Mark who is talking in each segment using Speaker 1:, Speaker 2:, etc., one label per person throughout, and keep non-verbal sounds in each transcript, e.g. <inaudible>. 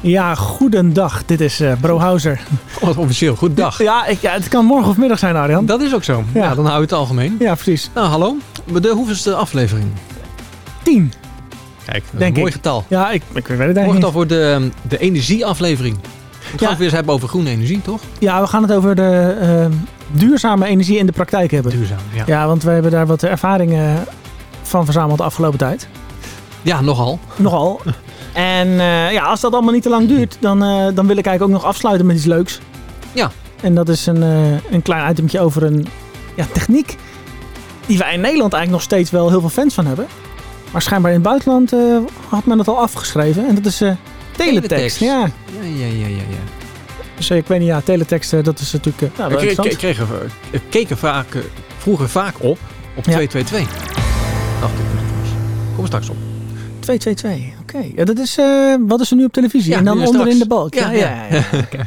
Speaker 1: Ja, goedendag. Dit is eh Brohouser.
Speaker 2: Wat officieel, goed dag.
Speaker 1: Ja, ik, ja, het kan morgen of middag zijn, Arjan.
Speaker 2: Dat is ook zo. Ja,
Speaker 1: Ja.
Speaker 2: dan hou je het algemeen.
Speaker 1: Ja, precies.
Speaker 2: Nou, hallo. De hoeveelste aflevering?
Speaker 1: Tien.
Speaker 2: Kijk, dat is
Speaker 1: Denk
Speaker 2: een mooi
Speaker 1: ik.
Speaker 2: getal.
Speaker 1: Ja, ik, ik weet het
Speaker 2: Mooi
Speaker 1: eigenlijk
Speaker 2: getal voor de, de energieaflevering. We gaan
Speaker 1: Ja.
Speaker 2: het weer eens hebben over groene energie, toch?
Speaker 1: niet. Ja, we gaan het over de eh, duurzame energie in de praktijk hebben.
Speaker 2: Duurzaam, ja. ja.
Speaker 1: Ja, want we hebben daar wat ervaringen van verzameld de afgelopen tijd.
Speaker 2: nogal.
Speaker 1: Nogal. En eh, ja, als dat allemaal niet te lang duurt, dan, eh, dan wil ik eigenlijk ook nog afsluiten met iets leuks.
Speaker 2: Ja.
Speaker 1: En dat is een, eh, een klein itemtje over een ja, techniek die wij in Nederland eigenlijk nog steeds wel heel veel fans van hebben. Maar schijnbaar in het buitenland eh, had men het al afgeschreven. En dat is eh, teletext.
Speaker 2: Teletext.
Speaker 1: Ja.
Speaker 2: Ja, ja, ja, ja. ja.
Speaker 1: Dus eh, ik weet niet, ja, teletext, eh, dat is natuurlijk... eh, nou, wel
Speaker 2: We kregen,
Speaker 1: interessant.
Speaker 2: kregen we- we keken vaak, eh, vroeger vaak op, op
Speaker 1: Ja.
Speaker 2: 222. Dacht ik. dus. Kom er straks op.
Speaker 1: 222, oké. Ja, dat is, eh, wat is er nu op televisie?
Speaker 2: Ja,
Speaker 1: en dan
Speaker 2: nu en
Speaker 1: onderin
Speaker 2: straks.
Speaker 1: de balk. Ja,
Speaker 2: Ja,
Speaker 1: ja, ja.
Speaker 2: <laughs>
Speaker 1: oké.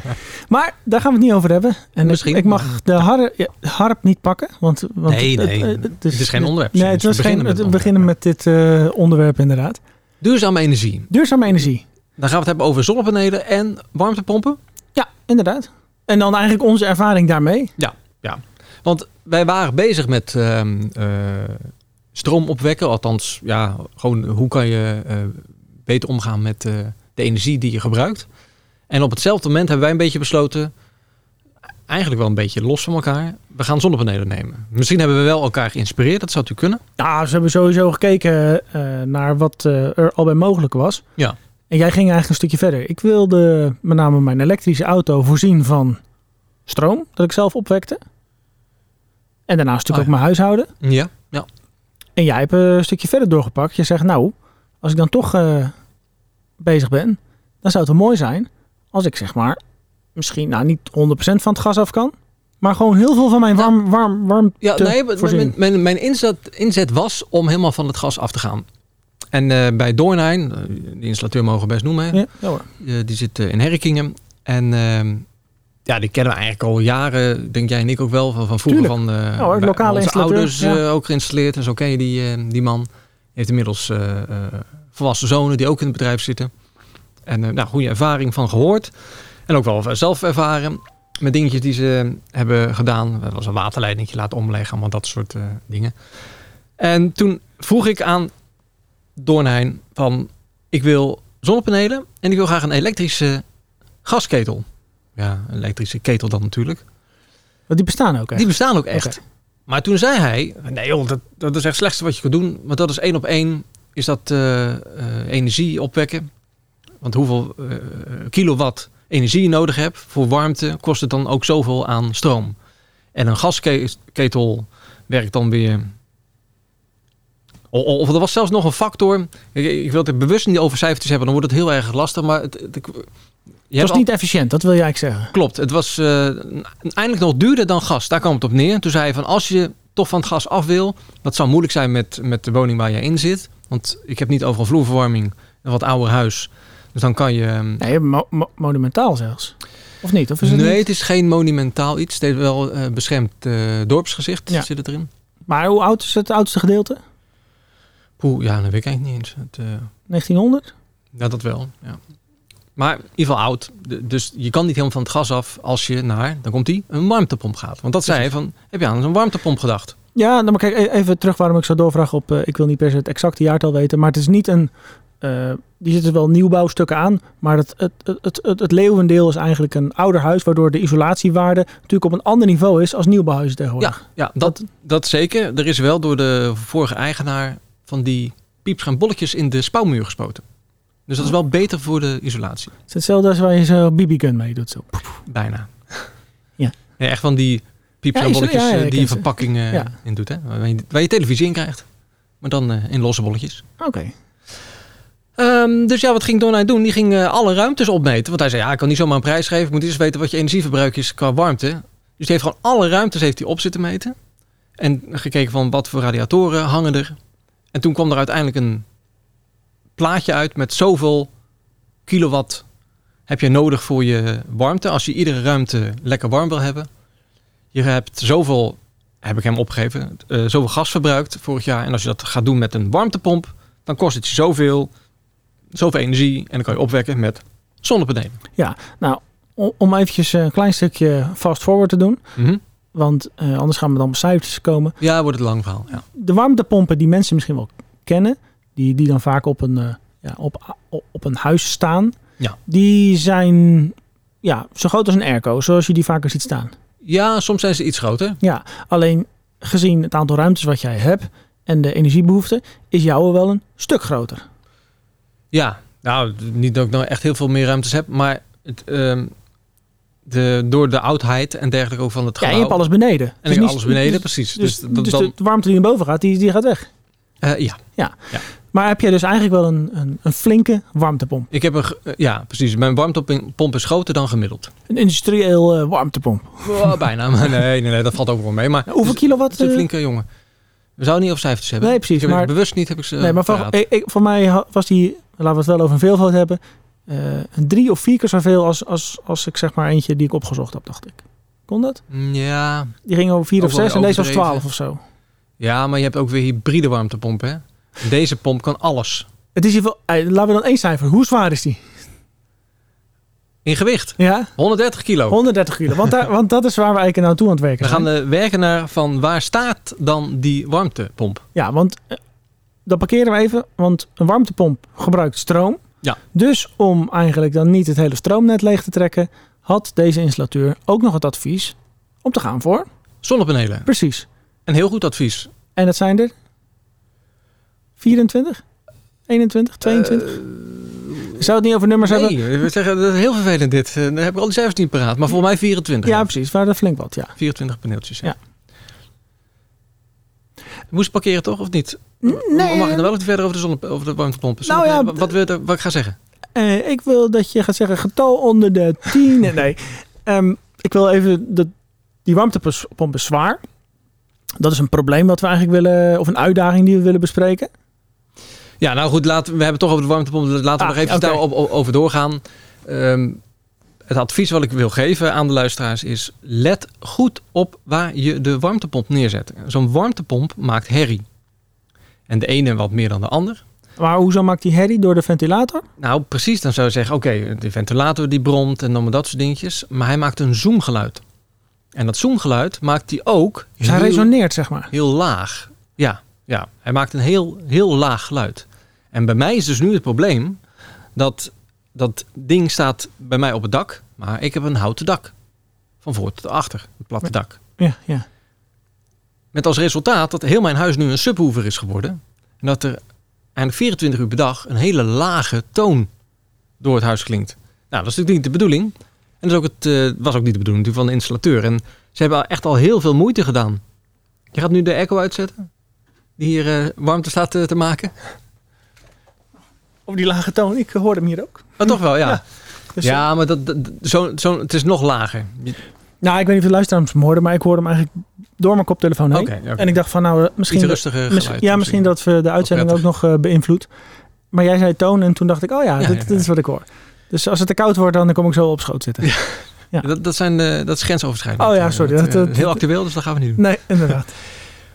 Speaker 1: Maar daar gaan we het niet over hebben. En ik-
Speaker 2: Misschien.
Speaker 1: Ik, mag de har- ja, harp niet pakken. Want, want
Speaker 2: Nee,
Speaker 1: het-
Speaker 2: nee.
Speaker 1: Het,
Speaker 2: Het is geen onderwerp.
Speaker 1: Nee, het
Speaker 2: Dus
Speaker 1: was
Speaker 2: we
Speaker 1: geen,
Speaker 2: beginnen met
Speaker 1: we
Speaker 2: het
Speaker 1: beginnen met dit eh, onderwerp inderdaad.
Speaker 2: Duurzame energie.
Speaker 1: Duurzame energie.
Speaker 2: Dan gaan we het hebben over zonnepanelen en warmtepompen.
Speaker 1: Ja, inderdaad. En dan eigenlijk onze ervaring daarmee.
Speaker 2: Want wij waren bezig met ehm, eh, stroom opwekken. Althans, ja, gewoon hoe kan je eh, beter omgaan met eh, de energie die je gebruikt. En op hetzelfde moment hebben wij een beetje besloten, eigenlijk wel een beetje los van elkaar, we gaan zonnepanelen nemen. Misschien hebben we wel elkaar geïnspireerd, dat zou natuurlijk kunnen.
Speaker 1: Nou, ze hebben sowieso gekeken eh, naar wat eh, er al bij mogelijk was.
Speaker 2: Ja.
Speaker 1: En jij ging eigenlijk een stukje verder. Ik wilde met name mijn elektrische auto voorzien van stroom dat ik zelf opwekte. En daarnaast natuurlijk
Speaker 2: Oh ja.
Speaker 1: ook mijn huishouden.
Speaker 2: Ja, ja.
Speaker 1: En jij hebt eh, een stukje verder doorgepakt. Je zegt, nou, als ik dan toch eh, bezig ben, dan zou het wel mooi zijn als ik zeg maar misschien nou, niet 100% van het gas af kan, maar gewoon heel veel van mijn
Speaker 2: Nou,
Speaker 1: warm, warm, warm.
Speaker 2: Ja,
Speaker 1: te
Speaker 2: nee, maar
Speaker 1: voorzien.
Speaker 2: mijn, mijn, mijn inzet, inzet was om helemaal van het gas af te gaan. En eh, bij Doornijn, eh, die installateur mogen we best noemen, hè,
Speaker 1: Ja, ja hoor.
Speaker 2: Eh, die zit eh, in Herkingen. En ehm, ja, die kennen we eigenlijk al jaren, denk jij en ik ook wel, van, van vroeger
Speaker 1: Tuurlijk.
Speaker 2: van eh
Speaker 1: Ja hoor,
Speaker 2: bij
Speaker 1: lokale
Speaker 2: onze
Speaker 1: installateur,
Speaker 2: ouders
Speaker 1: ja.
Speaker 2: eh, ook geïnstalleerd. En zo ken je die, eh, die man. Die heeft inmiddels eh, eh, volwassen zonen die ook in het bedrijf zitten. En eh nou, goede ervaring van gehoord. En ook wel eh, zelf ervaren met dingetjes die ze eh, hebben gedaan. Dat was een waterleidingje laten omleggen, allemaal dat soort eh, dingen. En toen vroeg ik aan Doornheijn van... ik wil zonnepanelen en ik wil graag een elektrische gasketel. Ja, een elektrische ketel dan natuurlijk.
Speaker 1: Want die bestaan ook.
Speaker 2: Die
Speaker 1: Echt.
Speaker 2: bestaan ook echt. Maar toen zei hij... nee joh, dat, dat is echt het slechtste wat je kunt doen. Want dat is één op één is dat eh, eh, energie opwekken. Want hoeveel eh, kilowatt energie je nodig hebt voor warmte... kost het dan ook zoveel aan stroom. En een gasketel werkt dan weer... O- o- Of er was zelfs nog een factor. Ik, ik wil het er bewust niet over cijfers hebben, dan wordt het heel erg lastig. Maar het, het, ik- je
Speaker 1: Het
Speaker 2: hebt
Speaker 1: was niet efficiënt, dat wil jij eigenlijk zeggen.
Speaker 2: Klopt, het was eh, uiteindelijk nog duurder dan gas. Daar kwam het op neer. Toen zei hij van als je toch van het gas af wil, dat zou moeilijk zijn met, met de woning waar je in zit. Want ik heb niet overal vloerverwarming, een wat ouder huis. Dus dan kan je... ehm,
Speaker 1: Nee, mo- mo- monumentaal zelfs. Of niet? Of is het
Speaker 2: nee,
Speaker 1: niet?
Speaker 2: het is geen monumentaal iets. Het is wel eh, beschermd eh, dorpsgezicht
Speaker 1: Ja.
Speaker 2: zit het erin.
Speaker 1: Maar hoe oud is het oudste gedeelte?
Speaker 2: Poeh, ja, dat weet ik eigenlijk niet eens. Het, eh,
Speaker 1: 1900?
Speaker 2: ja, dat wel, ja. Maar in ieder geval oud. De- Dus je kan niet helemaal van het gas af als je naar, dan komt die, een warmtepomp gaat. Want dat zei hij van, heb je aan een warmtepomp gedacht?
Speaker 1: Ja, nou, maar kijk e- even terug waarom ik zo doorvraag op. eh, ik wil niet per se het exacte jaartal weten, maar het is niet een. eh, die zitten wel nieuwbouwstukken aan, maar het, het, het, het, het, het leeuwendeel is eigenlijk een ouder huis, waardoor de isolatiewaarde natuurlijk op een ander niveau is als nieuwbouwhuizen
Speaker 2: Ja,
Speaker 1: tegenwoordig.
Speaker 2: ja dat, dat zeker. Er is wel door de vorige eigenaar van die pieps en bolletjes in de spouwmuur gespoten. Dus dat is
Speaker 1: Oh.
Speaker 2: wel beter voor de isolatie.
Speaker 1: Het is hetzelfde als waar je zo'n BB-gun mee doet. Zo.
Speaker 2: Bijna.
Speaker 1: Ja.
Speaker 2: Nee, echt van die pieps
Speaker 1: Ja,
Speaker 2: en
Speaker 1: is er-
Speaker 2: bolletjes
Speaker 1: ja, ja,
Speaker 2: eh,
Speaker 1: ik
Speaker 2: die je
Speaker 1: ken ze.
Speaker 2: verpakking eh,
Speaker 1: Ja.
Speaker 2: in doet. Hè? Waar, je, waar je televisie in krijgt. Maar dan eh, in losse bolletjes.
Speaker 1: Oké.
Speaker 2: Ehm, dus ja, wat ging Donai doen? Die ging eh, alle ruimtes opmeten. Want hij zei, ja, ik kan niet zomaar een prijs geven. Ik moet eerst weten wat je energieverbruik is qua warmte. Dus die heeft gewoon alle ruimtes heeft hij op zitten meten. En gekeken van wat voor radiatoren hangen er. En toen kwam er uiteindelijk een plaatje uit met zoveel kilowatt heb je nodig voor je warmte. Als je iedere ruimte lekker warm wil hebben. Je hebt zoveel, heb ik hem opgegeven, eh, zoveel gas verbruikt vorig jaar. En als je dat gaat doen met een warmtepomp, dan kost het je zoveel zoveel energie en dan kan je opwekken met Zonnepanelen.
Speaker 1: Nou, o- om eventjes een klein stukje fast forward te doen.
Speaker 2: Mhm.
Speaker 1: Want eh, anders gaan we dan op cijfertjes komen.
Speaker 2: Ja, wordt het lang verhaal. Ja.
Speaker 1: De warmtepompen die mensen misschien wel kennen. Die, die dan vaak op een, eh, ja, op, op een huis staan.
Speaker 2: Ja.
Speaker 1: Die zijn ja, zo groot als een airco. Zoals je die vaker ziet staan.
Speaker 2: ja, soms zijn ze iets groter.
Speaker 1: Alleen gezien het aantal ruimtes wat jij hebt en de energiebehoefte, is jouw wel een stuk groter.
Speaker 2: Ja, nou, niet dat ik nou echt heel veel meer ruimtes heb, maar het, ehm, de, door de oudheid en dergelijke ook van het
Speaker 1: Ja, en
Speaker 2: gebouw.
Speaker 1: je hebt alles beneden.
Speaker 2: en
Speaker 1: Dus
Speaker 2: ik heb
Speaker 1: niet-
Speaker 2: alles beneden,
Speaker 1: dus-
Speaker 2: precies. Dus,
Speaker 1: Dus,
Speaker 2: dat,
Speaker 1: dus
Speaker 2: dan,
Speaker 1: de warmte die naar boven gaat, die, die gaat weg.
Speaker 2: eh, ja.
Speaker 1: Maar heb jij dus eigenlijk wel een, een, een flinke warmtepomp.
Speaker 2: Ik heb een, ge- eh, ja, precies. Mijn warmtepomp is groter
Speaker 1: <laughs>
Speaker 2: dan gemiddeld.
Speaker 1: Een industrieel eh, warmtepomp.
Speaker 2: Oh, bijna, maar nee, nee, nee, dat valt ook wel mee. Maar
Speaker 1: Nou, hoeveel
Speaker 2: het
Speaker 1: kilowatt?
Speaker 2: is een
Speaker 1: eh,
Speaker 2: flinke jongen. We zouden niet op cijfers hebben.
Speaker 1: Nee, precies,
Speaker 2: Ik heb het
Speaker 1: maar-
Speaker 2: bewust niet heb ik ze eh,
Speaker 1: nee, maar voor,
Speaker 2: paraat.
Speaker 1: ik, ik- voor mij ha- was die, laten we het wel over een veelvoud hebben, eh, een drie of vier keer zoveel als, als, als ik zeg maar eentje die ik opgezocht heb, dacht ik. Kon dat?
Speaker 2: Mm, Ja,
Speaker 1: Die ging over vier
Speaker 2: Ook
Speaker 1: of
Speaker 2: wel
Speaker 1: zes en deze was
Speaker 2: overdreven.
Speaker 1: twaalf of zo.
Speaker 2: ja, maar je hebt ook weer hybride warmtepompen. Hè? Deze pomp kan alles.
Speaker 1: Het is in ieder geval, eh, laten we dan één cijfer. Hoe zwaar is die?
Speaker 2: In gewicht.
Speaker 1: Ja?
Speaker 2: 130 kilo.
Speaker 1: 130 kilo. Want,
Speaker 2: <laughs>
Speaker 1: daar, want dat is waar we eigenlijk naartoe aan het werken
Speaker 2: Oh. We
Speaker 1: zijn.
Speaker 2: gaan we werken naar van waar staat dan die warmtepomp?
Speaker 1: Ja, want eh, dat parkeren we even. Want een warmtepomp gebruikt stroom.
Speaker 2: Ja.
Speaker 1: Dus om eigenlijk dan niet het hele stroomnet leeg te trekken, had deze installateur ook nog het advies om te gaan voor.
Speaker 2: Zonnepanelen.
Speaker 1: Precies.
Speaker 2: Een heel goed advies.
Speaker 1: En dat zijn er 24, 21, 22. Zou het niet over nummers hebben?
Speaker 2: nee, we zeggen dat is heel vervelend dit. Eh, Dan heb ik al die cijfers niet paraat. Maar volgens mij 24.
Speaker 1: Ja, precies. Waren er flink wat, ja.
Speaker 2: 24 paneeltjes. Ja. Moest parkeren toch, of niet?
Speaker 1: Mm, nee, eh,
Speaker 2: Mag ik nou wel wat verder over de, zonne, over de warmtepompen?
Speaker 1: Nou ja,
Speaker 2: wat, wat, wil je- wat ik ga zeggen?
Speaker 1: Eh, ik wil dat je gaat zeggen getal onder de 10. Nee, Ehm, ik wil even dat die warmtepomp is zwaar. Dat is een probleem wat we eigenlijk willen, of een uitdaging die we willen bespreken.
Speaker 2: Ja, nou goed, laten, we hebben het toch over de warmtepomp. dus Laten we
Speaker 1: Ah,
Speaker 2: nog even
Speaker 1: oké.
Speaker 2: daar op, op- over doorgaan. Ehm, het advies wat ik wil geven aan de luisteraars is... let goed op waar je de warmtepomp neerzet. Zo'n warmtepomp maakt herrie. En de ene wat meer dan de ander.
Speaker 1: Maar hoezo maakt die herrie door de ventilator?
Speaker 2: Nou, precies, dan zou je zeggen... oké, de ventilator die bromt en allemaal dat soort dingetjes. Maar hij maakt een zoomgeluid. En dat zoomgeluid maakt hij ook...
Speaker 1: Dus hij
Speaker 2: heel-
Speaker 1: resoneert, zeg maar.
Speaker 2: Heel laag. Ja, ja. hij maakt een heel, heel laag geluid. En bij mij is dus nu het probleem dat dat ding staat bij mij op het dak, maar ik heb een houten dak. Van voor tot achter, een platte dak.
Speaker 1: Ja, ja.
Speaker 2: Met als resultaat dat heel mijn huis nu een subwoofer is geworden. En dat er eigenlijk 24 uur per dag een hele lage toon door het huis klinkt. Nou, dat is natuurlijk niet de bedoeling. En dat is ook het, eh, was ook niet de bedoeling natuurlijk van de installateur. En ze hebben echt al heel veel moeite gedaan. Je gaat nu de airco uitzetten? Die hier eh, warmte staat eh, te maken?
Speaker 1: Of die lage toon, ik hoor hem hier ook.
Speaker 2: Maar toch wel, ja. Ja,
Speaker 1: Oh, Ja. Dus,
Speaker 2: maar dat, dat, zo, zo, het is nog lager. Je-
Speaker 1: Nou, ik weet niet of de luisteraars hem hoorden, maar ik hoorde hem eigenlijk door mijn koptelefoon heen.
Speaker 2: Oké, oké.
Speaker 1: En ik dacht van, nou, eh,
Speaker 2: Iets
Speaker 1: misschien...
Speaker 2: rustiger geluid.
Speaker 1: misschien- ja, misschien dat we de uitzending ook nog eh, beïnvloedt. Maar jij zei toon en toen dacht ik, oh ja,
Speaker 2: Ja,
Speaker 1: dit,
Speaker 2: ja,
Speaker 1: dit
Speaker 2: ja.
Speaker 1: is wat ik hoor. Dus als het te koud wordt, dan kom ik zo op schoot zitten.
Speaker 2: Dat, dat, zijn, eh, dat is grensoverschrijdend.
Speaker 1: Oh ja, sorry,
Speaker 2: Eh,
Speaker 1: dat-
Speaker 2: eh,
Speaker 1: dat-
Speaker 2: heel actueel, dus dat gaan we niet doen.
Speaker 1: Nee, inderdaad.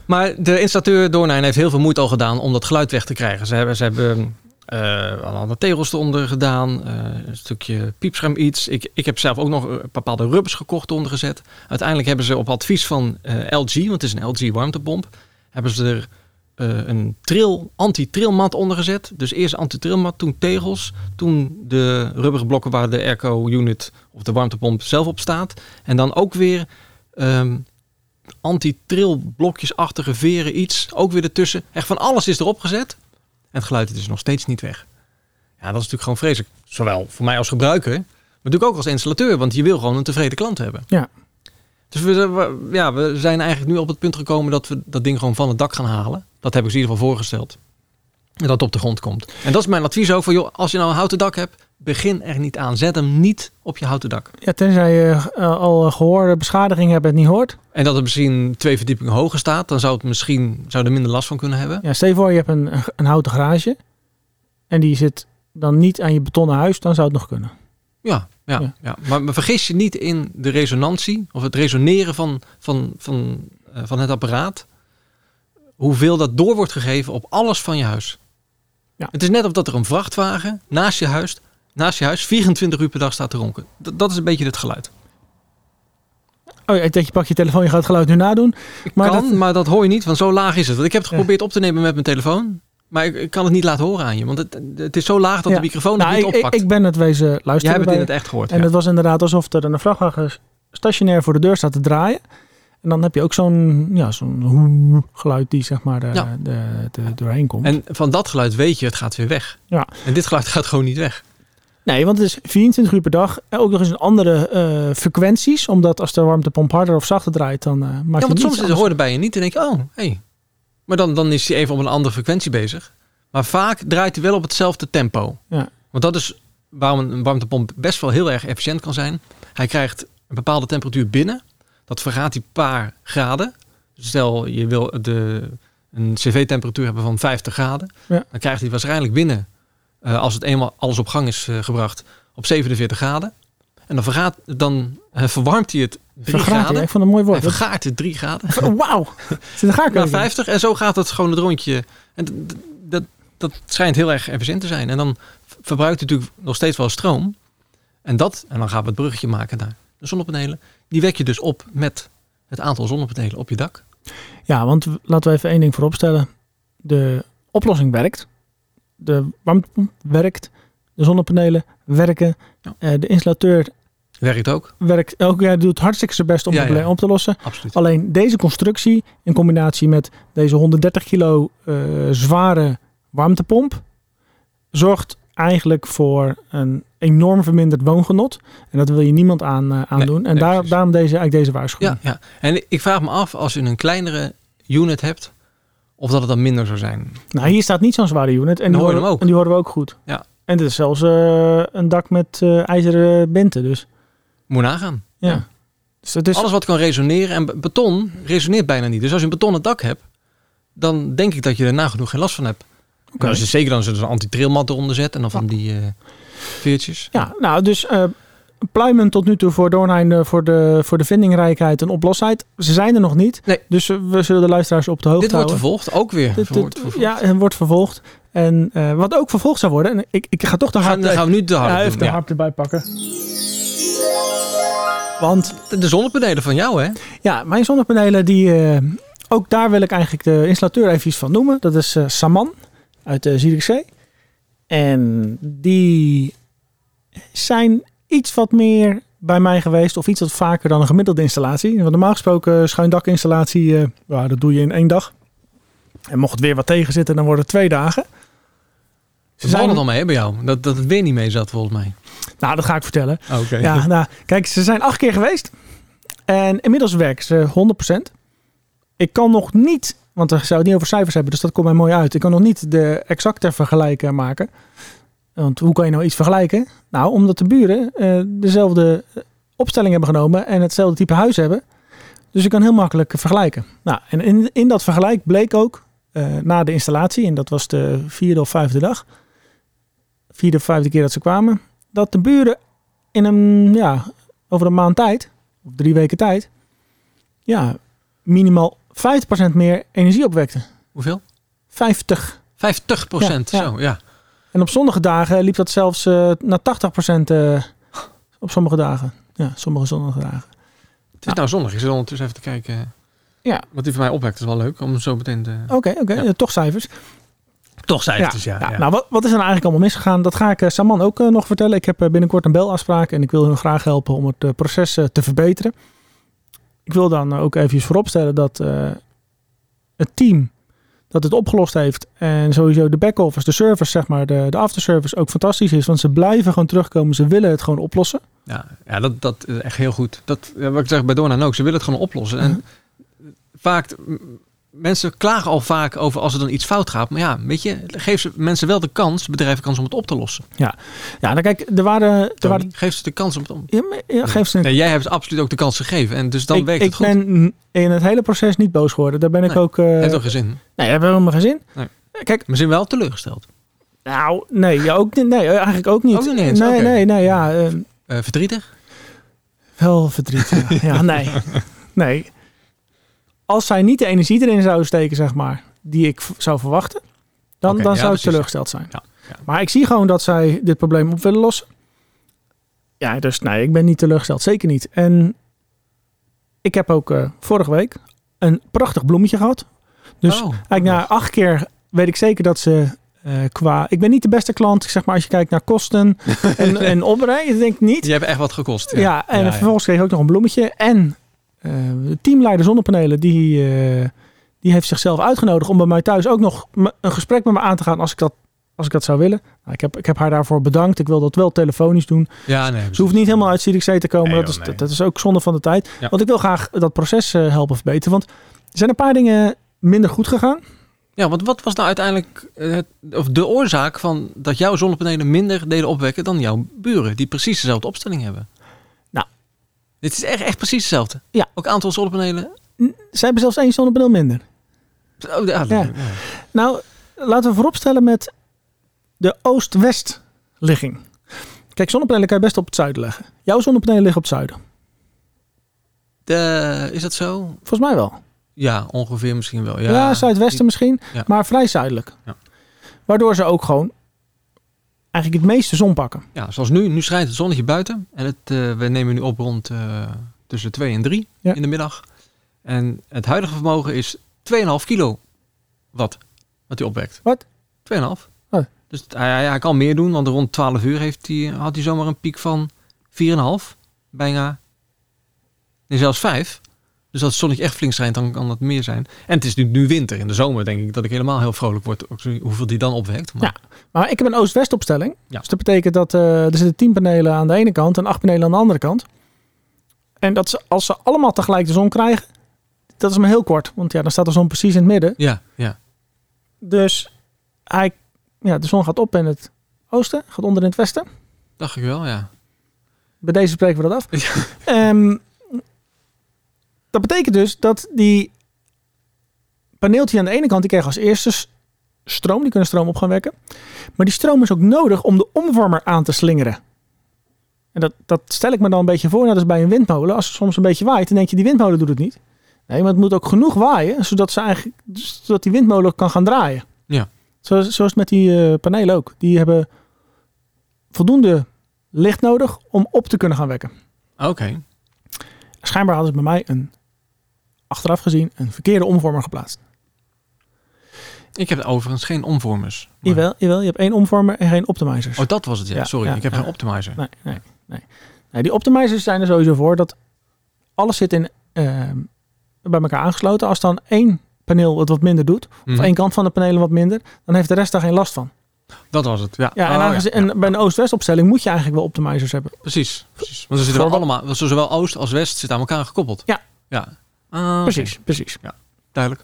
Speaker 2: Maar de installateur Doornijn heeft heel veel moeite al gedaan om dat geluid weg te krijgen. Ze hebben, ze hebben eh al andere tegels eronder gedaan, eh, een stukje piepscherm iets. Ik, ik heb zelf ook nog eh, bepaalde rubbers gekocht ondergezet. Uiteindelijk hebben ze op advies van eh, LG, want het is een LG warmtepomp, hebben ze er eh, een trill, anti-trilmat ondergezet. Dus eerst anti-trilmat, toen tegels, toen de rubberen blokken waar de airco unit of de warmtepomp zelf op staat. En dan ook weer ehm, anti-trilblokjesachtige veren iets. Ook weer ertussen. Echt van alles is erop gezet. En het geluid is dus nog steeds niet weg. Ja, dat is natuurlijk gewoon vreselijk. Zowel voor mij als gebruiker, maar natuurlijk ook als installateur. Want je wil gewoon een tevreden klant hebben.
Speaker 1: Ja.
Speaker 2: Dus we, we- ja, we zijn eigenlijk nu op het punt gekomen dat we dat ding gewoon van het dak gaan halen. Dat heb ik ze in ieder geval voorgesteld. En dat het op de grond komt. En dat is mijn advies ook. Van, joh, als je nou een houten dak hebt, begin er niet aan. Zet hem niet op je houten dak.
Speaker 1: Ja, tenzij je eh, al gehoorbeschadiging hebt en het niet hoort.
Speaker 2: En dat het misschien twee verdiepingen hoger staat, dan zou het misschien zou je er minder last van kunnen hebben.
Speaker 1: Ja, stel je voor, je hebt een, een houten garage. En die zit dan niet aan je betonnen huis, dan zou het nog kunnen.
Speaker 2: Ja, ja, ja.
Speaker 1: Ja.
Speaker 2: Maar, maar vergis je niet in de resonantie of het resoneren van, van, van, eh, van het apparaat. Hoeveel dat door wordt gegeven op alles van je huis.
Speaker 1: Ja.
Speaker 2: Het is net of dat er een vrachtwagen naast je huis naast je huis 24 uur per dag staat te ronken. D- dat is een beetje het geluid.
Speaker 1: Oh ja, ik denk je pak je telefoon, je gaat het geluid nu nadoen.
Speaker 2: Maar
Speaker 1: Maar
Speaker 2: kan,
Speaker 1: dat-
Speaker 2: maar dat hoor je niet, want zo laag is het. Want ik heb het geprobeerd op te nemen met mijn telefoon. Maar ik, ik kan het niet laten horen aan je. Want het, het is zo laag dat
Speaker 1: Ja.
Speaker 2: de microfoon het
Speaker 1: Nou,
Speaker 2: niet
Speaker 1: ik, ik,
Speaker 2: oppakt.
Speaker 1: ik ben het wezen luisteren.
Speaker 2: Jij hebt het
Speaker 1: bij-
Speaker 2: in het echt gehoord.
Speaker 1: En
Speaker 2: ja.
Speaker 1: het was inderdaad alsof er een vrachtwagen stationair voor de deur staat te draaien. En dan heb je ook zo'n ja, zo'n hoe- geluid die zeg maar eh,
Speaker 2: Ja.
Speaker 1: de, de, doorheen komt.
Speaker 2: En van dat geluid weet je, het gaat weer weg.
Speaker 1: Ja.
Speaker 2: En dit geluid gaat gewoon niet weg.
Speaker 1: Nee, want het is 24 uur per dag. En ook nog eens een andere eh, frequenties. Omdat als de warmtepomp harder of zachter draait, dan eh maakt
Speaker 2: Ja,
Speaker 1: het
Speaker 2: want
Speaker 1: niet
Speaker 2: soms is het hoorde bij je niet en denk je, oh, hé. Hey. Maar dan, dan is hij even op een andere frequentie bezig. Maar vaak draait hij wel op hetzelfde tempo.
Speaker 1: Ja.
Speaker 2: Want dat is waarom een- een warmtepomp best wel heel erg efficiënt kan zijn. Hij krijgt een bepaalde temperatuur binnen. Dat vergaat hij een paar graden. Dus Stel, je wil de, een cv-temperatuur hebben van 50 graden.
Speaker 1: Ja.
Speaker 2: Dan krijgt hij waarschijnlijk binnen, eh, als het eenmaal alles op gang is eh, gebracht, op 47 graden. En dan, vergaat, dan eh, verwarmt hij het 3
Speaker 1: Vergaat
Speaker 2: graden.
Speaker 1: hij. Ik vond het een mooi
Speaker 2: Hij
Speaker 1: woord.
Speaker 2: vergaart het 3 <laughs> graden.
Speaker 1: Wauw. Zit er gaar
Speaker 2: Na 50 en zo gaat het gewoon het rondje. En d- d- dat, dat schijnt heel erg efficiënt te zijn. En dan v- verbruikt het natuurlijk nog steeds wel stroom. En dat, en dan gaan we het bruggetje maken naar de zonnepanelen. Die wek je dus op met het aantal zonnepanelen op je dak.
Speaker 1: Ja, want w- laten we even één ding vooropstellen. De oplossing werkt. De warmtepomp werkt. De zonnepanelen werken.
Speaker 2: Ja.
Speaker 1: Eh, de installateur
Speaker 2: Werkt ook,
Speaker 1: werkt ook, ja, doet hartstikke zijn best om
Speaker 2: Ja,
Speaker 1: het
Speaker 2: ja.
Speaker 1: probleem op te lossen.
Speaker 2: absoluut.
Speaker 1: Alleen deze constructie in combinatie met deze 130 kilo eh, zware warmtepomp zorgt eigenlijk voor een enorm verminderd woongenot. En dat wil je niemand aan, eh, aandoen. en
Speaker 2: nee,
Speaker 1: daar,
Speaker 2: precies.
Speaker 1: daarom deze, eigenlijk deze waarschuwing.
Speaker 2: Ja, ja, en ik vraag me af, als je een kleinere unit hebt, of dat het dan minder zou zijn.
Speaker 1: Nou, hier staat niet zo'n zware unit. En
Speaker 2: Dan
Speaker 1: die,
Speaker 2: hoor je
Speaker 1: horen,
Speaker 2: hem ook.
Speaker 1: en die horen we ook goed.
Speaker 2: Ja.
Speaker 1: En dit is zelfs eh, een dak met eh, ijzeren binten. Dus,
Speaker 2: Moet je nagaan.
Speaker 1: ja.
Speaker 2: Ja.
Speaker 1: dus het is
Speaker 2: Alles wat kan resoneren. En be- beton resoneert bijna niet. Dus als je een betonnen dak hebt, dan denk ik dat je er nagenoeg geen last van hebt.
Speaker 1: Oké.
Speaker 2: En als je Nou, zeker dan zo'n anti-trailmat eronder zet en dan van die eh, veertjes.
Speaker 1: Ja, nou, dus eh pluimen tot nu toe voor Doornheim eh, voor, de, voor de vindingrijkheid en oplosheid. Ze zijn er nog niet.
Speaker 2: Nee.
Speaker 1: Dus eh, we zullen de luisteraars op de hoogte
Speaker 2: Dit wordt
Speaker 1: houden.
Speaker 2: vervolgd, ook weer. wordt vervolgd.
Speaker 1: ja, en wordt vervolgd. En eh, wat ook vervolgd zou worden, en ik, ik ga toch de
Speaker 2: dan, gaan,
Speaker 1: harp,
Speaker 2: dan gaan we nu de
Speaker 1: ja,
Speaker 2: harp
Speaker 1: even
Speaker 2: doen.
Speaker 1: de
Speaker 2: Ja.
Speaker 1: harp erbij pakken. Want
Speaker 2: De- De zonnepanelen van jou, hè?
Speaker 1: ja, mijn zonnepanelen, die, eh, ook daar wil ik eigenlijk de installateur even iets van noemen. Dat is eh, Saman uit de Zierikzee. En die zijn iets wat meer bij mij geweest of iets wat vaker dan een gemiddelde installatie. Want normaal gesproken eh, schuindakinstallatie, eh, nou, dat doe je in één dag. En mocht het weer wat tegenzitten, dan worden het twee dagen.
Speaker 2: Ze zijn er al mee hè, bij jou. Dat, dat het weer niet mee zat, volgens mij.
Speaker 1: Nou, dat ga ik vertellen.
Speaker 2: Oké.
Speaker 1: Ja, nou, kijk, ze zijn acht keer geweest. En inmiddels werken ze 100%. Ik kan nog niet, want we zouden het niet over cijfers hebben, dus dat komt mij mooi uit. Ik kan nog niet de exacte vergelijken maken. Want hoe kan je nou iets vergelijken? Nou, omdat de buren eh, dezelfde opstelling hebben genomen en hetzelfde type huis hebben. Dus je kan heel makkelijk vergelijken. Nou, en in, in dat vergelijk bleek ook eh, na de installatie, en dat was de vierde of vijfde dag, vierde of vijfde keer dat ze kwamen, dat de buren in een, ja, over een maand tijd, of drie weken tijd, ja, minimaal 50% meer energie opwekten.
Speaker 2: Hoeveel?
Speaker 1: 50.
Speaker 2: 50 procent.
Speaker 1: Ja, ja.
Speaker 2: Zo, ja.
Speaker 1: En op sommige dagen liep dat zelfs eh, naar 80% eh, op sommige dagen. Ja, sommige zonnige dagen.
Speaker 2: Het is nou zonnig. Ik zit ondertussen even te kijken. eh,
Speaker 1: Ja.
Speaker 2: Wat die voor mij opwekt, is wel leuk. Om zo meteen de...
Speaker 1: Oké, oké,
Speaker 2: Ja.
Speaker 1: eh, toch cijfers.
Speaker 2: Toch
Speaker 1: Ja,
Speaker 2: cijfers, ja.
Speaker 1: ja, Nou, wat, wat is er nou eigenlijk allemaal misgegaan? Dat ga ik eh, Saman ook eh, nog vertellen. Ik heb eh, binnenkort een belafspraak en ik wil hun graag helpen om het eh, proces eh, te verbeteren. Ik wil dan eh, ook even vooropstellen dat eh, het team dat het opgelost heeft en sowieso de back-office, de service, zeg maar, de, de afterservice ook fantastisch is. Want ze blijven gewoon terugkomen. Ze willen het gewoon oplossen.
Speaker 2: Ja, ja dat, dat is echt heel goed. Dat, ja, wat ik zeg bij Doornan ook, ze willen het gewoon oplossen. En vaak, m- mensen klagen al vaak over als er dan iets fout gaat. Maar ja, weet je, geef ze mensen wel de kans, bedrijven kans om het op te lossen.
Speaker 1: Ja, nou kijk, er waren... Er
Speaker 2: Tony,
Speaker 1: waren
Speaker 2: Geef ze de kans om het om.
Speaker 1: ja, maar- ja, geef ze een
Speaker 2: Nee, jij hebt ze absoluut ook de kans gegeven. En dus dan
Speaker 1: ik,
Speaker 2: werkt
Speaker 1: ik
Speaker 2: het goed.
Speaker 1: ben n- in het hele proces niet boos geworden. Daar ben ik
Speaker 2: Nee,
Speaker 1: ook... eh,
Speaker 2: Heeft toch geen zin.
Speaker 1: Nee, hebben we helemaal geen zin.
Speaker 2: Nee.
Speaker 1: Kijk,
Speaker 2: Maar ze zijn wel teleurgesteld.
Speaker 1: Nou, nee, ja, ook, niet- nee eigenlijk ook niet.
Speaker 2: Ook niet eens,
Speaker 1: nee,
Speaker 2: oké.
Speaker 1: nee, nee, ja. eh,
Speaker 2: Eh, verdrietig?
Speaker 1: wel verdriet. ja. <laughs> ja, nee. Nee. Als zij niet de energie erin zouden steken, zeg maar, die ik v- zou verwachten, dan,
Speaker 2: Oké,
Speaker 1: dan
Speaker 2: ja,
Speaker 1: zou ik
Speaker 2: precies.
Speaker 1: teleurgesteld zijn.
Speaker 2: Ja. Ja.
Speaker 1: Maar ik zie gewoon dat zij dit probleem op willen lossen. Ja, dus nee, ik ben niet teleurgesteld. Zeker niet. En ik heb ook eh, vorige week een prachtig bloemetje gehad. Dus
Speaker 2: Oh,
Speaker 1: Eigenlijk na acht keer weet ik zeker dat ze eh, qua... Ik ben niet de beste klant, zeg maar, als je kijkt naar kosten en, en opbreng. Ik denk niet.
Speaker 2: Die hebben echt wat gekost.
Speaker 1: Ja,
Speaker 2: Ja.
Speaker 1: en
Speaker 2: Ja, ja.
Speaker 1: vervolgens kreeg ik ook nog een bloemetje. En eh, de teamleider zonnepanelen, die, eh, die heeft zichzelf uitgenodigd om bij mij thuis ook nog m- een gesprek met me aan te gaan als ik dat, als ik dat zou willen. Nou, ik, heb, ik heb haar daarvoor bedankt. Ik wil dat wel telefonisch doen.
Speaker 2: Ja, nee.
Speaker 1: Ze hoeft niet helemaal uit CDC te komen.
Speaker 3: Nee,
Speaker 1: dat, is,
Speaker 3: joh, nee.
Speaker 1: dat, dat is ook zonde van de tijd.
Speaker 2: Ja.
Speaker 1: Want ik wil graag dat proces eh, helpen verbeteren. Want er zijn een paar dingen minder goed gegaan.
Speaker 2: Ja, want wat was nou uiteindelijk eh, het, of de oorzaak van dat jouw zonnepanelen minder deden opwekken dan jouw buren, die precies dezelfde opstelling hebben?
Speaker 1: Nou.
Speaker 2: Dit is echt, echt precies hetzelfde.
Speaker 1: Ja.
Speaker 2: Ook aantal zonnepanelen.
Speaker 1: Ze hebben zelfs één zonnebril minder.
Speaker 2: Oh, ja,
Speaker 1: Ja.
Speaker 2: ja.
Speaker 1: Nou, laten we vooropstellen met de oost-west ligging. Kijk, zonnepanelen kan je best op het zuiden leggen. Jouw zonnepanelen liggen op het zuiden.
Speaker 2: De- is dat zo?
Speaker 1: Volgens mij wel.
Speaker 2: Ja, ongeveer misschien wel. Ja,
Speaker 1: Ja, zuidwesten misschien,
Speaker 2: Ja.
Speaker 1: maar vrij zuidelijk.
Speaker 2: Ja.
Speaker 1: Waardoor ze ook gewoon eigenlijk het meeste zon pakken.
Speaker 2: Ja, zoals nu. Nu schijnt het zonnetje buiten. En het, eh, we nemen nu op rond eh, tussen 2 en 3
Speaker 1: Ja.
Speaker 2: in de middag. En het huidige vermogen is 2,5 kilo wat, wat hij opwekt.
Speaker 1: Wat?
Speaker 2: 2,5.
Speaker 1: Oh.
Speaker 2: Dus het- hij, hij- hij kan meer doen, want rond 12 uur heeft hij, had hij zomaar een piek van 4,5. Bijna. Nee, zelfs 5. Dus als het zonnetje echt flink schijnt, dan kan dat meer zijn. En het is nu, nu winter. In de zomer denk ik dat ik helemaal heel vrolijk word. ook zo- Hoeveel die dan opwekt. Maar,
Speaker 1: Maar ik heb een oost-west opstelling.
Speaker 2: Ja.
Speaker 1: Dus dat betekent dat eh, er zitten 10 panelen aan de ene kant en acht panelen aan de andere kant. En dat ze, als ze allemaal tegelijk de zon krijgen, dat is maar heel kort. Want ja, dan staat de zon precies in het midden.
Speaker 2: ja, ja.
Speaker 1: Dus hij, ja, de zon gaat op in het oosten, gaat onder in het westen.
Speaker 2: dacht ik wel, ja.
Speaker 1: Bij deze spreken we dat af. Ehm, dat betekent dus dat die paneeltje aan de ene kant, die krijgen als eerste s- stroom, die kunnen stroom op gaan wekken. Maar die stroom is ook nodig om de omvormer aan te slingeren. En dat, dat stel ik me dan een beetje voor, net als bij een windmolen. Als het soms een beetje waait, dan denk je die windmolen doet het niet. Nee, maar het moet ook genoeg waaien, zodat, ze eigenlijk, zodat die windmolen kan gaan draaien.
Speaker 2: Ja.
Speaker 1: Zo, zo is het met die eh, panelen ook. Die hebben voldoende licht nodig om op te kunnen gaan wekken.
Speaker 2: Oké.
Speaker 1: Schijnbaar hadden ze bij mij een, achteraf gezien, een verkeerde omvormer geplaatst.
Speaker 2: Ik heb overigens geen omvormers. maar-
Speaker 1: Jawel, jawel, je hebt één omvormer en geen optimizers.
Speaker 2: Oh, dat was het, ja.
Speaker 1: Ja,
Speaker 2: Sorry,
Speaker 1: ja,
Speaker 2: ik heb
Speaker 1: ja.
Speaker 2: geen optimizer.
Speaker 1: Nee, nee, nee. nee. Die optimizers zijn er sowieso voor dat alles zit in, ehm, bij elkaar aangesloten. Als dan één paneel het wat minder doet,
Speaker 2: Mhm.
Speaker 1: of één kant van de panelen wat minder, dan heeft de rest daar geen last van.
Speaker 2: Dat was het, ja.
Speaker 1: Ja, en,
Speaker 2: Oh,
Speaker 1: aangezien-
Speaker 2: ja. Oh,
Speaker 1: en bij een oost-west opstelling moet je eigenlijk wel optimizers hebben.
Speaker 2: Precies, precies. Want ze zitten wel
Speaker 1: Voor-
Speaker 2: allemaal, want zowel Oost als West zitten aan elkaar gekoppeld.
Speaker 1: Ja.
Speaker 2: Ja. Ah, oké.
Speaker 1: Precies, precies.
Speaker 2: Duidelijk.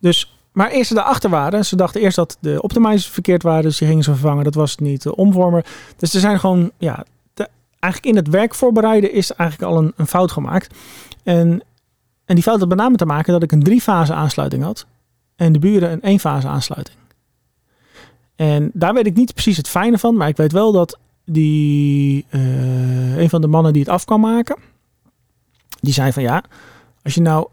Speaker 1: Dus, maar eerst ze daarachter waren. Ze dachten eerst dat de optimizers verkeerd waren. Dus die gingen ze vervangen. Dat was het niet de omvormer. Dus er zijn gewoon, ja, de- eigenlijk in het werk voorbereiden is eigenlijk al een, een fout gemaakt. En, en die fout had met name te maken dat ik een drie-fase aansluiting had. En de buren een één-fase aansluiting. En daar weet ik niet precies het fijne van. Maar ik weet wel dat die, eh, een van de mannen die het af kan maken. Die zei van ja, als je nou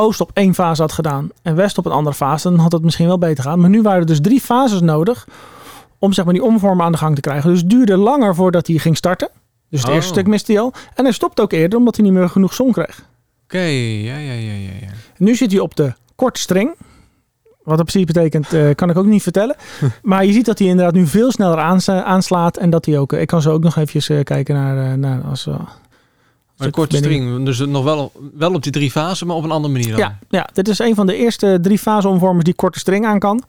Speaker 1: Oost op één fase had gedaan en West op een andere fase, dan had het misschien wel beter gaan. Maar nu waren er dus drie fases nodig om zeg maar die omvormen aan de gang te krijgen. Dus het duurde langer voordat hij ging starten. Dus het
Speaker 2: Oh.
Speaker 1: eerste stuk miste hij al. En hij stopte ook eerder omdat hij niet meer genoeg zon kreeg.
Speaker 2: Oké, ja, ja, ja, ja, ja.
Speaker 1: En nu zit hij op de korte string. Wat dat precies betekent, eh, kan ik ook niet
Speaker 2: <laughs>
Speaker 1: vertellen. Maar je ziet dat hij inderdaad nu veel sneller aans- aanslaat. En dat hij ook... eh, ik kan zo ook nog eventjes eh, kijken naar... eh, naar als, eh, als
Speaker 2: Maar
Speaker 1: ik
Speaker 2: een korte
Speaker 1: verbinding-
Speaker 2: string, dus nog wel, wel op die drie fasen, maar op een andere manier dan.
Speaker 1: Ja, ja, dit is een van de eerste drie fase omvormers die korte string aan kan.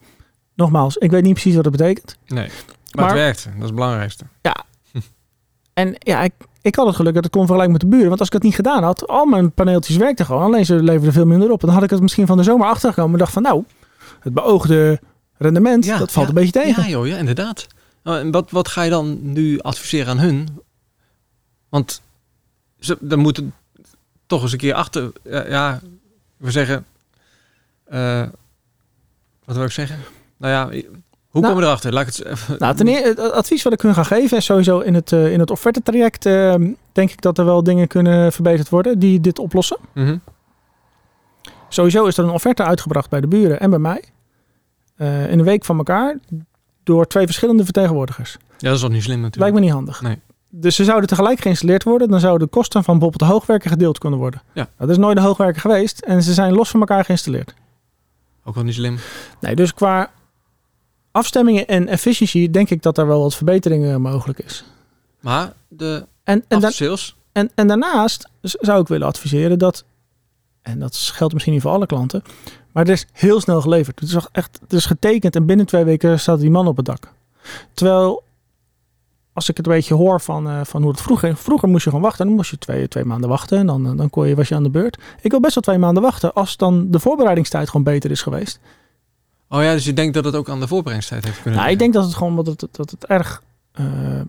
Speaker 1: Nogmaals, ik weet niet precies wat dat betekent.
Speaker 2: Nee. Maar,
Speaker 1: Maar-
Speaker 2: het werkt, dat is het belangrijkste.
Speaker 1: En ja, ik, ik had het geluk dat ik kon vergelijken met de buren. Want als ik dat niet gedaan had, al mijn paneeltjes werkten gewoon. Alleen ze leverden veel minder op. En dan had ik het misschien van de zomer achtergekomen. En dacht van nou, het beoogde rendement,
Speaker 2: Ja,
Speaker 1: dat valt
Speaker 2: ja,
Speaker 1: een beetje tegen.
Speaker 2: Ja, joh, ja, inderdaad. Nou, en wat, wat ga je dan nu adviseren aan hun? Want ze dan moeten toch eens een keer achter. Ja, ja, we zeggen. eh, wat wil ik zeggen? Nou ja, hoe
Speaker 1: Nou.
Speaker 2: komen we erachter? Laat ik het eens even.
Speaker 1: Nou, ten eer- het advies wat ik hun ga geven is sowieso in het, eh, in het offertetraject eh, denk ik dat er wel dingen kunnen verbeterd worden die dit oplossen.
Speaker 2: Mhm.
Speaker 1: Sowieso is er een offerte uitgebracht bij de buren en bij mij. Eh, in een week van elkaar door twee verschillende vertegenwoordigers.
Speaker 2: Ja, dat is ook niet slim natuurlijk.
Speaker 1: Lijkt me niet handig.
Speaker 2: Nee.
Speaker 1: Dus ze zouden tegelijk geïnstalleerd worden. Dan zouden de kosten van bijvoorbeeld de hoogwerker gedeeld kunnen worden.
Speaker 2: Ja.
Speaker 1: Nou, dat is nooit de hoogwerker geweest. En ze zijn los van elkaar geïnstalleerd.
Speaker 2: Ook wel niet slim.
Speaker 1: Nee, dus qua afstemmingen en efficiëntie denk ik dat er wel wat verbeteringen mogelijk is.
Speaker 2: Maar de
Speaker 1: En, en, dan,
Speaker 2: aftersales,
Speaker 1: en, en daarnaast z- zou ik willen adviseren dat, en dat geldt misschien niet voor alle klanten, maar het is heel snel geleverd. Het is, echt- echt, het is getekend en binnen twee weken staat die man op het dak. Terwijl, als ik het een beetje hoor van, eh, van hoe het vroeger ging, vroeger moest je gewoon wachten. Dan moest je twee, twee maanden wachten en dan, eh, dan kon je, was je aan de beurt. Ik wil best wel twee maanden wachten als dan de voorbereidingstijd gewoon beter is geweest.
Speaker 2: Oh ja, dus je denkt dat het ook aan de voorbereidingstijd heeft kunnen
Speaker 1: Nou, ik
Speaker 2: liggen.
Speaker 1: denk dat het gewoon dat het, dat het erg eh,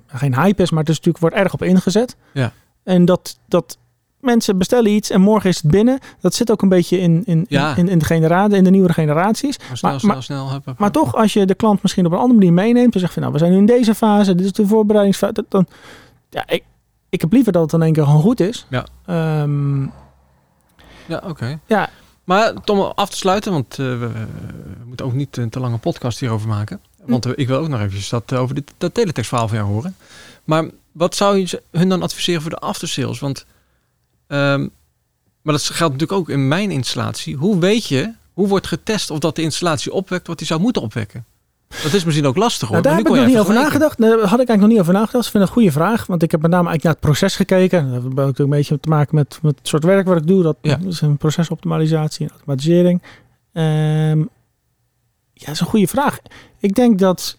Speaker 1: geen hype is, maar het is natuurlijk wordt erg op ingezet.
Speaker 2: Ja.
Speaker 1: En dat, dat mensen bestellen iets en morgen is het binnen. Dat zit ook een beetje in, in,
Speaker 2: Ja.
Speaker 1: in, in de generatie, in de nieuwere generaties.
Speaker 2: Maar snel,
Speaker 1: maar-
Speaker 2: snel,
Speaker 1: maar-
Speaker 2: snel. hup, hup,
Speaker 1: Maar
Speaker 2: hup.
Speaker 1: toch, als je de klant misschien op een andere manier meeneemt en zegt van nou, we zijn nu in deze fase, dit is de voorbereidingsfase, dat- dan ja, ik, ik heb liever dat het in één keer gewoon goed is.
Speaker 2: Ja.
Speaker 1: Ehm,
Speaker 2: Ja, oké.
Speaker 1: Ja.
Speaker 2: Maar Tom, om af te sluiten, want eh, we, eh, we moeten ook niet een te lange podcast hierover maken. Want eh, ik wil ook nog eventjes dat, eh, over dit, dat teletextverhaal van jou horen. Maar wat zou je ze- hun dan adviseren voor de aftersales? Want, ehm, maar dat geldt natuurlijk ook in mijn installatie. Hoe weet je, hoe wordt getest of dat de installatie opwekt wat die zou moeten opwekken? Dat is misschien ook lastig hoor.
Speaker 1: Nou, daar
Speaker 2: maar
Speaker 1: heb
Speaker 2: nu
Speaker 1: ik nog
Speaker 2: kon
Speaker 1: niet
Speaker 2: jij
Speaker 1: over nagedacht.
Speaker 2: vergelijken.
Speaker 1: Nee, daar had ik eigenlijk nog niet over nagedacht. Ik vind het een goede vraag. Want ik heb met name eigenlijk naar het proces gekeken. Dat heeft ook natuurlijk een beetje te maken met, met het soort werk wat ik doe. Dat
Speaker 2: Ja.
Speaker 1: is een procesoptimalisatie en automatisering. Ehm, ja, dat is een goede vraag. Ik denk dat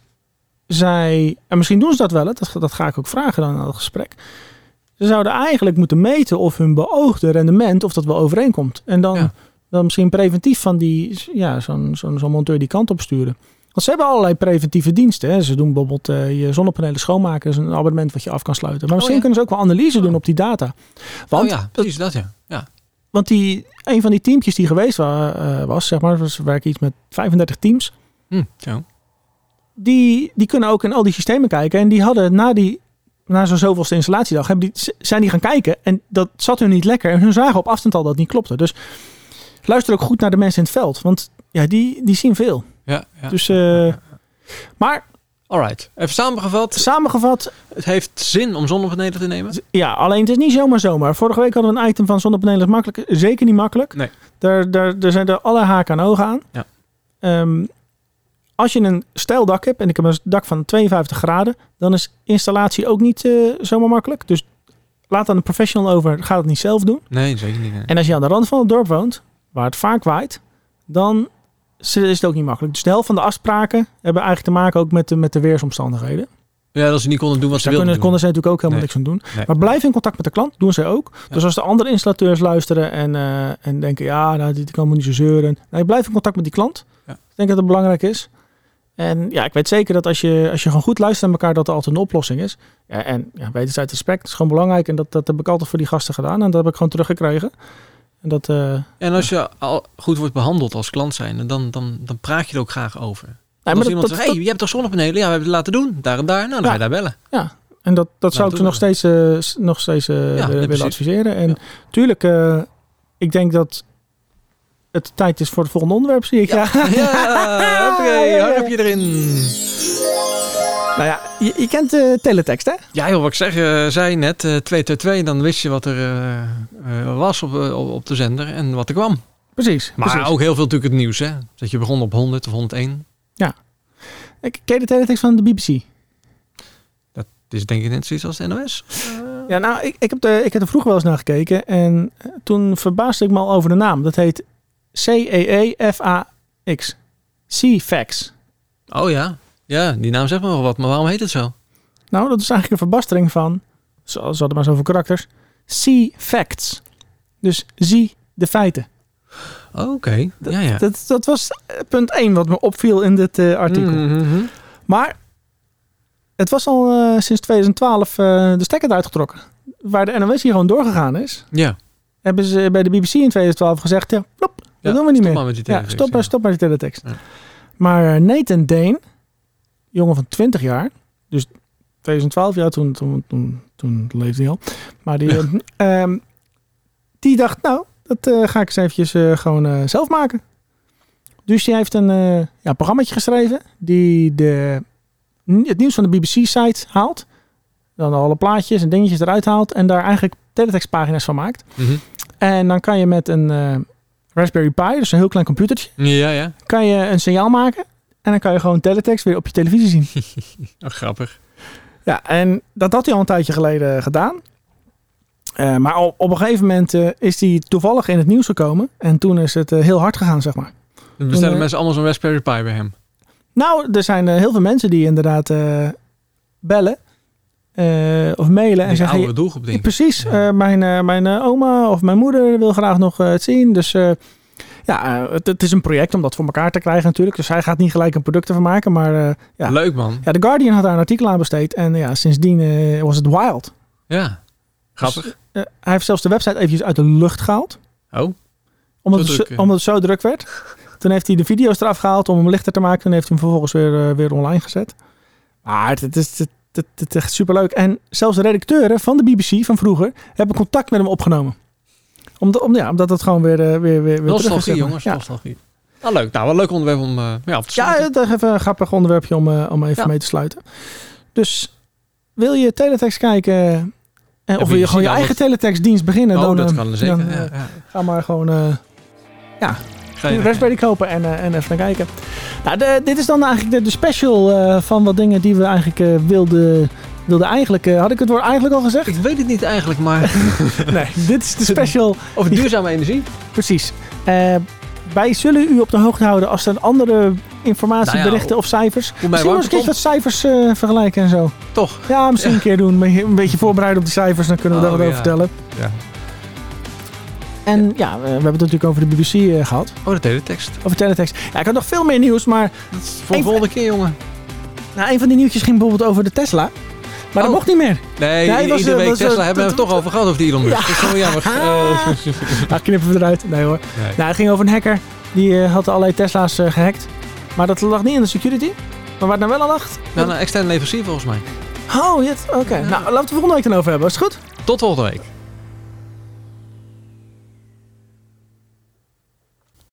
Speaker 1: zij, en misschien doen ze dat wel, hè, dat, dat ga ik ook vragen dan aan het gesprek. Ze zouden eigenlijk moeten meten of hun beoogde rendement, of dat wel overeenkomt. En dan,
Speaker 2: Ja.
Speaker 1: dan misschien preventief van die, ja, zo'n zo'n zo'n monteur die kant op sturen. Want ze hebben allerlei preventieve diensten. Hè. Ze doen bijvoorbeeld eh, je zonnepanelen schoonmaken. Dat is een abonnement wat je af kan sluiten. Maar misschien
Speaker 2: Oh, ja.
Speaker 1: kunnen ze ook wel analyse doen op die data. Want
Speaker 2: Oh ja, precies dat ja. ja.
Speaker 1: want die, een van die teampjes die geweest wa- eh, was, zeg maar, we werken iets met 35 teams.
Speaker 2: Hm, zo.
Speaker 1: Die, die kunnen ook in al die systemen kijken. En die hadden na, die, na zo'n zoveelste installatiedag, hebben die, z- zijn die gaan kijken. En dat zat hun niet lekker. En hun zagen op afstand al dat het niet klopte. Dus luister ook goed naar de mensen in het veld. Want ja, die, die zien veel.
Speaker 2: Ja, ja.
Speaker 1: Dus, eh, maar
Speaker 2: Alright. Even samengevat,
Speaker 1: samengevat,
Speaker 2: het heeft zin om zonnepanelen te nemen.
Speaker 1: Ja, alleen het is niet zomaar zomaar. Vorige week hadden we een item van zonnepanelen is makkelijk. Zeker niet makkelijk.
Speaker 2: Nee.
Speaker 1: Daar, daar, daar zijn er alle haken en ogen aan.
Speaker 2: Ja.
Speaker 1: Ehm, als je een steil dak hebt, en ik heb een dak van 52 graden, dan is installatie ook niet eh, zomaar makkelijk. Dus laat aan de professional over, ga het niet zelf doen.
Speaker 2: Nee, zeker niet. nee.
Speaker 1: En als je aan de rand van het dorp woont, waar het vaak waait, dan is het ook niet makkelijk. Dus de helft van de afspraken hebben eigenlijk te maken ook met de, met de weersomstandigheden.
Speaker 2: Ja, dat ze niet konden doen wat ze
Speaker 1: Daar
Speaker 2: wilden
Speaker 1: kunnen, konden ze natuurlijk ook helemaal
Speaker 2: Nee.
Speaker 1: niks aan doen.
Speaker 2: Nee.
Speaker 1: Maar blijf in contact met de klant, doen zij ook.
Speaker 2: Ja.
Speaker 1: Dus als de andere installateurs luisteren en, eh, en denken, ja, nou, dit kan me niet zo zeuren. Nee, blijf in contact met die klant.
Speaker 2: Ja.
Speaker 1: Ik denk dat dat belangrijk is. En ja, ik weet zeker dat als je, als je gewoon goed luistert naar elkaar, dat er altijd een oplossing is. Ja, en ja, weet het uit respect, dat is gewoon belangrijk. En dat, dat heb ik altijd voor die gasten gedaan. En dat heb ik gewoon teruggekregen. En dat, eh,
Speaker 2: En als je al goed wordt behandeld als klant zijn, dan, dan, dan praat je er ook graag over. Want
Speaker 1: nee,
Speaker 2: als
Speaker 1: maar
Speaker 2: iemand
Speaker 1: dat,
Speaker 2: zegt, hey, je hebt toch zonnepanelen? Ja, we hebben het laten doen. Daar en daar. Nou, dan
Speaker 1: Ja.
Speaker 2: ga je daar
Speaker 1: <laughs>
Speaker 2: bellen.
Speaker 1: En dat, dat zou ik
Speaker 2: doe
Speaker 1: ze nog
Speaker 2: dat.
Speaker 1: steeds, eh, s- nog steeds eh, willen-
Speaker 2: nee,
Speaker 1: willen
Speaker 2: precies.
Speaker 1: adviseren. En
Speaker 2: Ja.
Speaker 1: tuurlijk, eh, ik denk dat het tijd is voor het volgende onderwerp, zie ik. Ja.
Speaker 2: Ja, oké,
Speaker 1: Ja, ja, ja.
Speaker 2: heb je erin.
Speaker 1: <laughs> Nou ja, je, je kent eh teletext, hè?
Speaker 2: Ja joh, wat ik zeg, eh, zei net, eh, 222, dan wist je wat er eh, eh, was op, eh, op, op de zender en wat er kwam.
Speaker 1: Precies.
Speaker 2: Maar
Speaker 1: precies.
Speaker 2: ook heel veel natuurlijk het nieuws, hè. Dat je begon op 100 of 101.
Speaker 1: Ik ken je de teletext van de BBC.
Speaker 2: Het is denk ik net zoiets als de NOS.
Speaker 1: Ja, nou, ik, ik, heb de, ik heb er vroeger wel eens naar gekeken. En eh, toen verbaasde ik me al over de naam. Dat heet E C-E-E-F-A-X. C-Fax.
Speaker 2: Oh ja, ja, die naam zegt me wel wat, maar waarom heet het zo?
Speaker 1: Nou, dat is eigenlijk een verbastering van, ze ze hadden maar zoveel karakters, C-Facts. Dus zie de feiten.
Speaker 2: Oké, ja ja.
Speaker 1: Dat, dat was eh, punt 1 wat me opviel in dit eh, artikel.
Speaker 2: Mhm.
Speaker 1: Maar het was al eh, sinds 2012 eh, de stekker eruit getrokken. Waar de NOS hier gewoon doorgegaan is,
Speaker 2: Ja,
Speaker 1: hebben ze bij de BBC in 2012 gezegd, ja, plop, dat
Speaker 2: Ja,
Speaker 1: doen we niet
Speaker 2: stop
Speaker 1: meer.
Speaker 2: maar met die
Speaker 1: ja,
Speaker 2: televisie.
Speaker 1: stop, maar, stop maar die teletext.
Speaker 2: Ja.
Speaker 1: Maar eh, Nathan Dane, jongen van 20 jaar, dus 2012 jaar, toen, toen, toen, toen leefde hij al. Maar die, eh, ehm, die dacht, nou, dat eh, ga ik eens eventjes eh, gewoon eh, zelf maken. Dus die heeft een eh ja, programmaatje geschreven die de het nieuws van de BBC-site haalt. Dan alle plaatjes en dingetjes eruit haalt. En daar eigenlijk teletextpagina's van maakt.
Speaker 2: Mhm.
Speaker 1: En dan kan je met een eh, Raspberry Pi, dus een heel klein computertje,
Speaker 2: Ja, ja.
Speaker 1: kan je een signaal maken. En dan kan je gewoon teletext weer op je televisie zien.
Speaker 2: <laughs> Oh, grappig.
Speaker 1: Ja, en dat had hij al een tijdje geleden gedaan. Eh, maar op, op een gegeven moment eh, is hij toevallig in het nieuws gekomen. En toen is het eh, heel hard gegaan, zeg maar.
Speaker 2: Dan bestellen
Speaker 1: eh,
Speaker 2: mensen allemaal zo'n Raspberry Pi bij hem.
Speaker 1: Nou, er zijn eh, heel veel mensen die inderdaad eh, bellen eh, of mailen. En
Speaker 2: Die
Speaker 1: zeggen,
Speaker 2: oude doelgroep ding.
Speaker 1: Precies.
Speaker 2: Ja.
Speaker 1: eh, mijn eh, mijn eh, oma of mijn moeder wil graag nog eh, het zien. Dus eh, ja, eh, het, het is een project om dat voor elkaar te krijgen natuurlijk. Dus hij gaat niet gelijk een product ervan maken. Maar eh, ja.
Speaker 2: Leuk man.
Speaker 1: ja, The Guardian had daar een artikel aan besteed. En ja, sindsdien eh, was het wild.
Speaker 2: Ja. Grappig.
Speaker 1: Eh, hij heeft zelfs de website eventjes uit de lucht gehaald.
Speaker 2: Oh.
Speaker 1: Omdat,
Speaker 2: Zo
Speaker 1: het,
Speaker 2: druk,
Speaker 1: zo,
Speaker 2: eh.
Speaker 1: omdat het zo druk werd. Toen heeft hij de video's eraf gehaald om hem lichter te maken. En heeft hij hem vervolgens weer, eh, weer online gezet. Maar het, het is het, het, het is echt superleuk. En zelfs de redacteuren van de BBC van vroeger hebben contact met hem opgenomen. Omdat, om, ja, omdat het gewoon weer, eh, weer, weer, weer terug is.
Speaker 2: Nostalgie
Speaker 1: zeg maar.
Speaker 2: jongens,
Speaker 1: Ja.
Speaker 2: nostalgie. Nou leuk, nou wel leuk onderwerp om eh ja, op te
Speaker 1: Ja,
Speaker 2: sluiten.
Speaker 1: het is even een grappig onderwerpje om, eh, om even
Speaker 2: Ja.
Speaker 1: mee te sluiten. Dus wil je teletext kijken... En
Speaker 2: wil
Speaker 1: of wil
Speaker 2: je
Speaker 1: je gewoon je
Speaker 2: zien al
Speaker 1: eigen teletextdienst beginnen?
Speaker 2: oh,
Speaker 1: dan,
Speaker 2: dat
Speaker 1: eh,
Speaker 2: kan zeker.
Speaker 1: dan,
Speaker 2: ja,
Speaker 1: eh,
Speaker 2: ja.
Speaker 1: Ga maar gewoon eh
Speaker 2: Ga je
Speaker 1: een
Speaker 2: weg.
Speaker 1: Raspberry kopen en, eh, en even naar kijken. Nou, de- dit is dan eigenlijk de, de special eh, van wat dingen die we eigenlijk eh, wilden... Wilden eigenlijk... eh, had ik het woord eigenlijk al
Speaker 2: <laughs>
Speaker 1: gezegd?
Speaker 2: Ik weet het niet eigenlijk, maar
Speaker 1: Nee, <laughs> dit is de special.
Speaker 2: over duurzame energie.
Speaker 1: Precies. Eh, wij zullen u op de hoogte houden als er andere informatie,
Speaker 2: Nou ja,
Speaker 1: berichten of cijfers.
Speaker 2: Hoe mijn
Speaker 1: Misschien nog
Speaker 2: warmte
Speaker 1: eens een keer
Speaker 2: komt,
Speaker 1: wat cijfers eh, vergelijken en zo.
Speaker 2: toch.
Speaker 1: Ja, misschien een keer doen. Een beetje- Een beetje voorbereiden op die cijfers, dan kunnen we
Speaker 2: Oh,
Speaker 1: daar wat
Speaker 2: ja.
Speaker 1: over vertellen.
Speaker 2: Ja.
Speaker 1: En ja, eh, we hebben het natuurlijk over de BBC eh, gehad.
Speaker 2: Oh, dat hele tekst.
Speaker 1: Over teletext. Ja, ik had nog veel meer nieuws, maar
Speaker 2: Dat is voor de
Speaker 1: Even-
Speaker 2: volgende keer, jongen.
Speaker 1: nou, een van die nieuwtjes ging bijvoorbeeld over de Tesla. Maar
Speaker 2: Oh.
Speaker 1: dat mocht niet
Speaker 2: <laughs>
Speaker 1: meer.
Speaker 2: Nee,
Speaker 1: Ja, hij was,
Speaker 2: iedere
Speaker 1: eh,
Speaker 2: week
Speaker 1: was, eh,
Speaker 2: Tesla hebben we het
Speaker 1: dat-
Speaker 2: toch over gehad over die Elon Musk. Dat is zo
Speaker 1: <laughs>
Speaker 2: jammer. Eh,
Speaker 1: Nou, knippen we eruit. Nee hoor.
Speaker 2: nee.
Speaker 1: Nou, het ging over een hacker. Die eh, had allerlei Tesla's eh, gehackt. Maar dat lag niet in de security. Maar waar het nou wel aan lag...
Speaker 2: Nou, een externe leverancier volgens mij.
Speaker 1: Oh, yes. oké. Nou, laten we het volgende week dan over hebben. Is het goed?
Speaker 2: Tot volgende week.